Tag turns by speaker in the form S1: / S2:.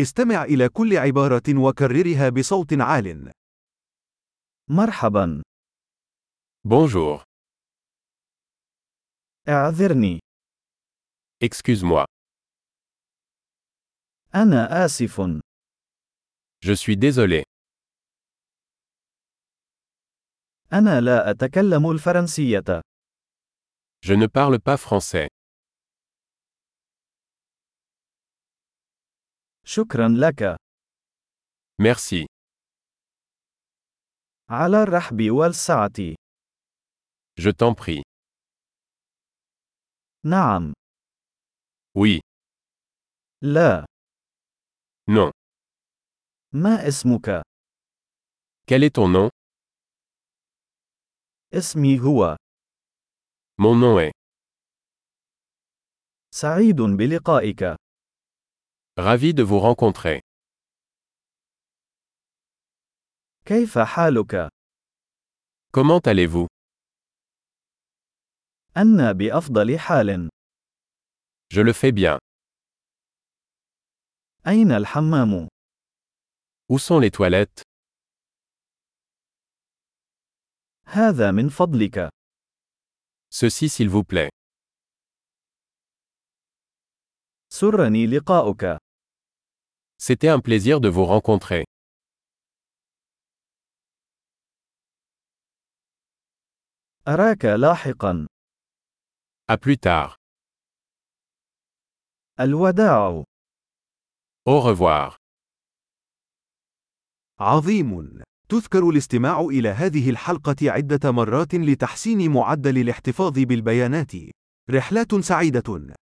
S1: استمع إلى كل عبارة وكررها بصوت عال.
S2: مرحبا
S3: Bonjour,
S2: اعذرني
S3: excuse-moi,
S2: انا اسف
S3: je suis désolé,
S2: انا لا اتكلم الفرنسيه
S3: je ne parle pas français.
S2: شكرا لك
S3: Merci,
S2: على الرحب والسعه
S3: je t'en prie.
S2: نعم
S3: Oui,
S2: لا
S3: non.
S2: ما اسمك
S3: Quel est ton nom
S2: اسمي هو
S3: Mon nom est.
S2: سعيد بلقائك
S3: Ravi de vous rencontrer.
S2: كيف حالك
S3: Comment allez-vous
S2: انا بافضل حال
S3: Je le fais bien.
S2: اين الحمام
S3: Où sont les toilettes
S2: هذا من فضلك
S3: Ceci s'il vous plaît.
S2: سرني لقاؤك
S3: C'était un plaisir de vous rencontrer.
S2: اراك لاحقا
S3: À plus tard.
S2: الوداع
S3: Au revoir.
S1: عظيم. تذكر الاستماع إلى هذه الحلقة عدة مرات لتحسين معدل الاحتفاظ بالبيانات. رحلات سعيدة.